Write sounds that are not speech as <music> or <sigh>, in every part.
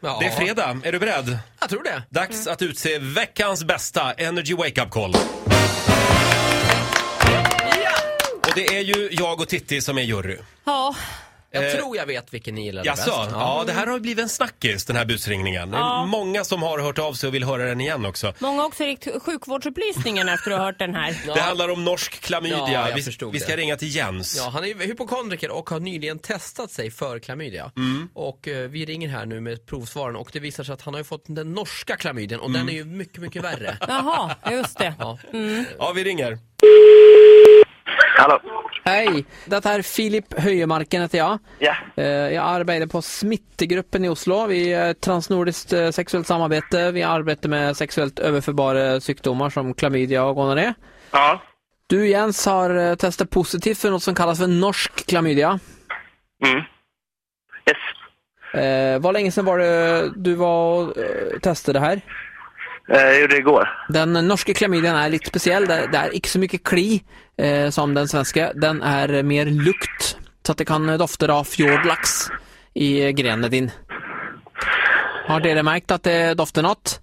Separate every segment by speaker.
Speaker 1: Ja.
Speaker 2: Det är fredag. Är du beredd?
Speaker 1: Jag tror det.
Speaker 2: Dags att utse veckans bästa Energy Wake Up Call. Och det är ju jag och Titti som är jury.
Speaker 3: Ja,
Speaker 1: Jag
Speaker 2: Eh,
Speaker 1: tror jag vet vilken ni gillade
Speaker 2: Jaså?
Speaker 1: bäst.
Speaker 2: Ja, det här har ju blivit en snackis, den här busringningen. Det är
Speaker 3: Ja.
Speaker 2: Många som har hört av sig och vill höra den igen också.
Speaker 3: många har också rikt sjukvårdsupplysningen efter att ha hört den här.
Speaker 2: Det handlar om norsk klamydia.
Speaker 1: Ja, jag
Speaker 2: vi,
Speaker 1: förstod
Speaker 2: vi ska
Speaker 1: det.
Speaker 2: ringa till Jens.
Speaker 1: Ja, han är ju hypokondriker och har nyligen testat sig för klamydia.
Speaker 2: Mm.
Speaker 1: Och eh, vi ringer här nu med provsvaren och det visar sig att han har ju fått den norska klamydian och
Speaker 2: Mm.
Speaker 1: den är ju mycket, mycket
Speaker 2: <laughs>
Speaker 1: värre.
Speaker 3: Jaha, just det.
Speaker 1: Ja.
Speaker 2: Ja, vi ringer.
Speaker 4: Hallå.
Speaker 5: Hei, dette er Filip Høyemarken heter jeg.
Speaker 4: Ja.
Speaker 5: Eh, Jeg arbeider på Smittegruppen i Oslo. Vi er transnordisk eh, seksuelt samarbete. Vi arbeider med seksuelt overførbare sykdommer som klamydia og gonoré.
Speaker 4: Ja.
Speaker 5: Du, Jens, har eh, testet positivt for noe som kalles for norsk klamydia.
Speaker 4: Mm. Yes.
Speaker 5: Eh, Hvor lenge siden var det du var og eh, testet det her?
Speaker 4: Eh, Jag gjorde det igår.
Speaker 5: Den norske klamydian är lite speciell. Det, det är inte så mycket kli eh, som den svenska. Den är mer lukt. Så att det kan dofta av fjordlax i grenen din. Har dere märkt att det doftar något?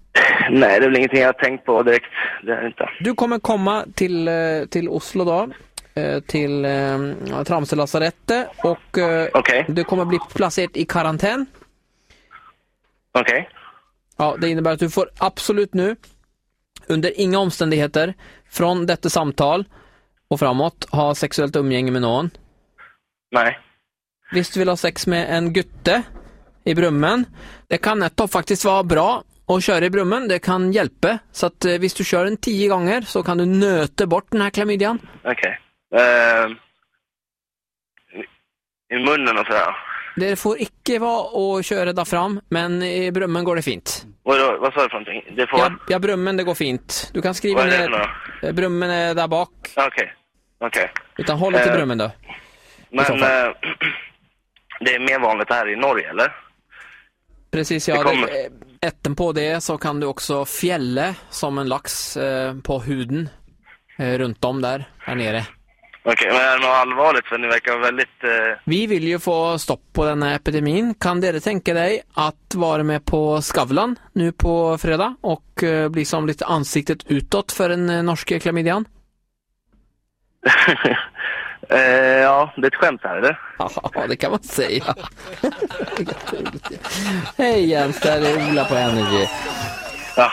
Speaker 4: Nej, det är väl ingenting jag har tänkt på direkt. Det är det inte.
Speaker 5: Du kommer komma till, eh, till Oslo då. eh, Till eh, Tramselasarettet och eh,
Speaker 4: Okej.
Speaker 5: du kommer bli placerad i karantän.
Speaker 4: Okej.
Speaker 5: Ja, det innebär att du får absolut nu, under inga omständigheter, från detta samtal och framåt, ha sexuellt umgänge med någon.
Speaker 4: Nej.
Speaker 5: Visst du vill ha sex med en gutte i brummen, det kan nettopp faktiskt vara bra att köra i brummen, det kan hjälpa. Så att eh, visst du kör den tio gånger så kan du nöta bort den här klamydian.
Speaker 4: Okej. Ehm, i, I munnen och sådär.
Speaker 5: Det får icke vara att köra där fram, men i brummen går det fint.
Speaker 4: Och då, vad sa du för någonting? Det får...
Speaker 5: Ja, ja brummen det går fint. Du kan skriva
Speaker 4: Vad är det för
Speaker 5: ner,
Speaker 4: något?
Speaker 5: eh, brummen är där bak,
Speaker 4: Okej. Okej.
Speaker 5: utan håll dig till
Speaker 4: Eh,
Speaker 5: brummen då. så
Speaker 4: Men
Speaker 5: fall.
Speaker 4: eh, <clears throat> det är mer vanligt här i Norge, eller?
Speaker 5: Precis,
Speaker 4: Det
Speaker 5: ja.
Speaker 4: kommer.
Speaker 5: Det, eh, etten på det så kan du också fjälle som en lax eh, på huden eh, runt om där, här nere.
Speaker 4: Okej, men är det något allvarligt? För ni verkar väldigt... <laughs> Eh,
Speaker 5: Vi vill ju få stopp på den här epidemin. Kan dere tänka dig att vara med på Skavlan nu på fredag och eh, bli som lite ansiktet utåt för den eh, norska klamydian? <laughs>
Speaker 4: eh, ja, det är ett skämt här, eller?
Speaker 5: Ja, det kan man säga. <laughs> Hej Jens, det här är Ola på Energy.
Speaker 4: Ja.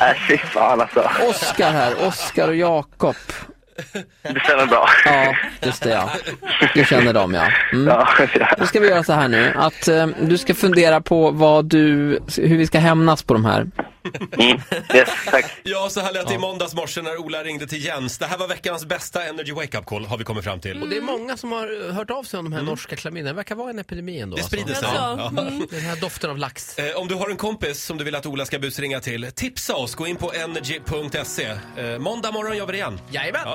Speaker 4: Nej, fy fan alltså.
Speaker 5: Oskar här, Oskar och Jakob.
Speaker 4: Det stämmer bra.
Speaker 5: Ja, just det ja. Du känner dem ja. Mm.
Speaker 4: Ja, ja.
Speaker 5: Då ska vi göra så här nu, att eh, du ska fundera på vad du, hur vi ska hämnas på de här.
Speaker 4: Mm. Yes, tack.
Speaker 2: Ja, så här lät det i måndags morse när Ola ringde till Jens. Det här var veckans bästa Energy Wake Up Call, har vi kommit fram till.
Speaker 1: Och det är många som har eh, hört av sig om de här
Speaker 5: Mm.
Speaker 1: norska klamydian. Det verkar vara en epidemi ändå.
Speaker 2: Det sprider sig.
Speaker 3: Alltså,
Speaker 2: Ja.
Speaker 1: Alltså. Den här doften av lax.
Speaker 2: Eh, Om du har en kompis som du vill att Ola ska busringa till, tipsa oss. Gå in på energy.se. Eh, Måndag morgon gör vi det igen.
Speaker 1: Jajamän!
Speaker 2: Ja.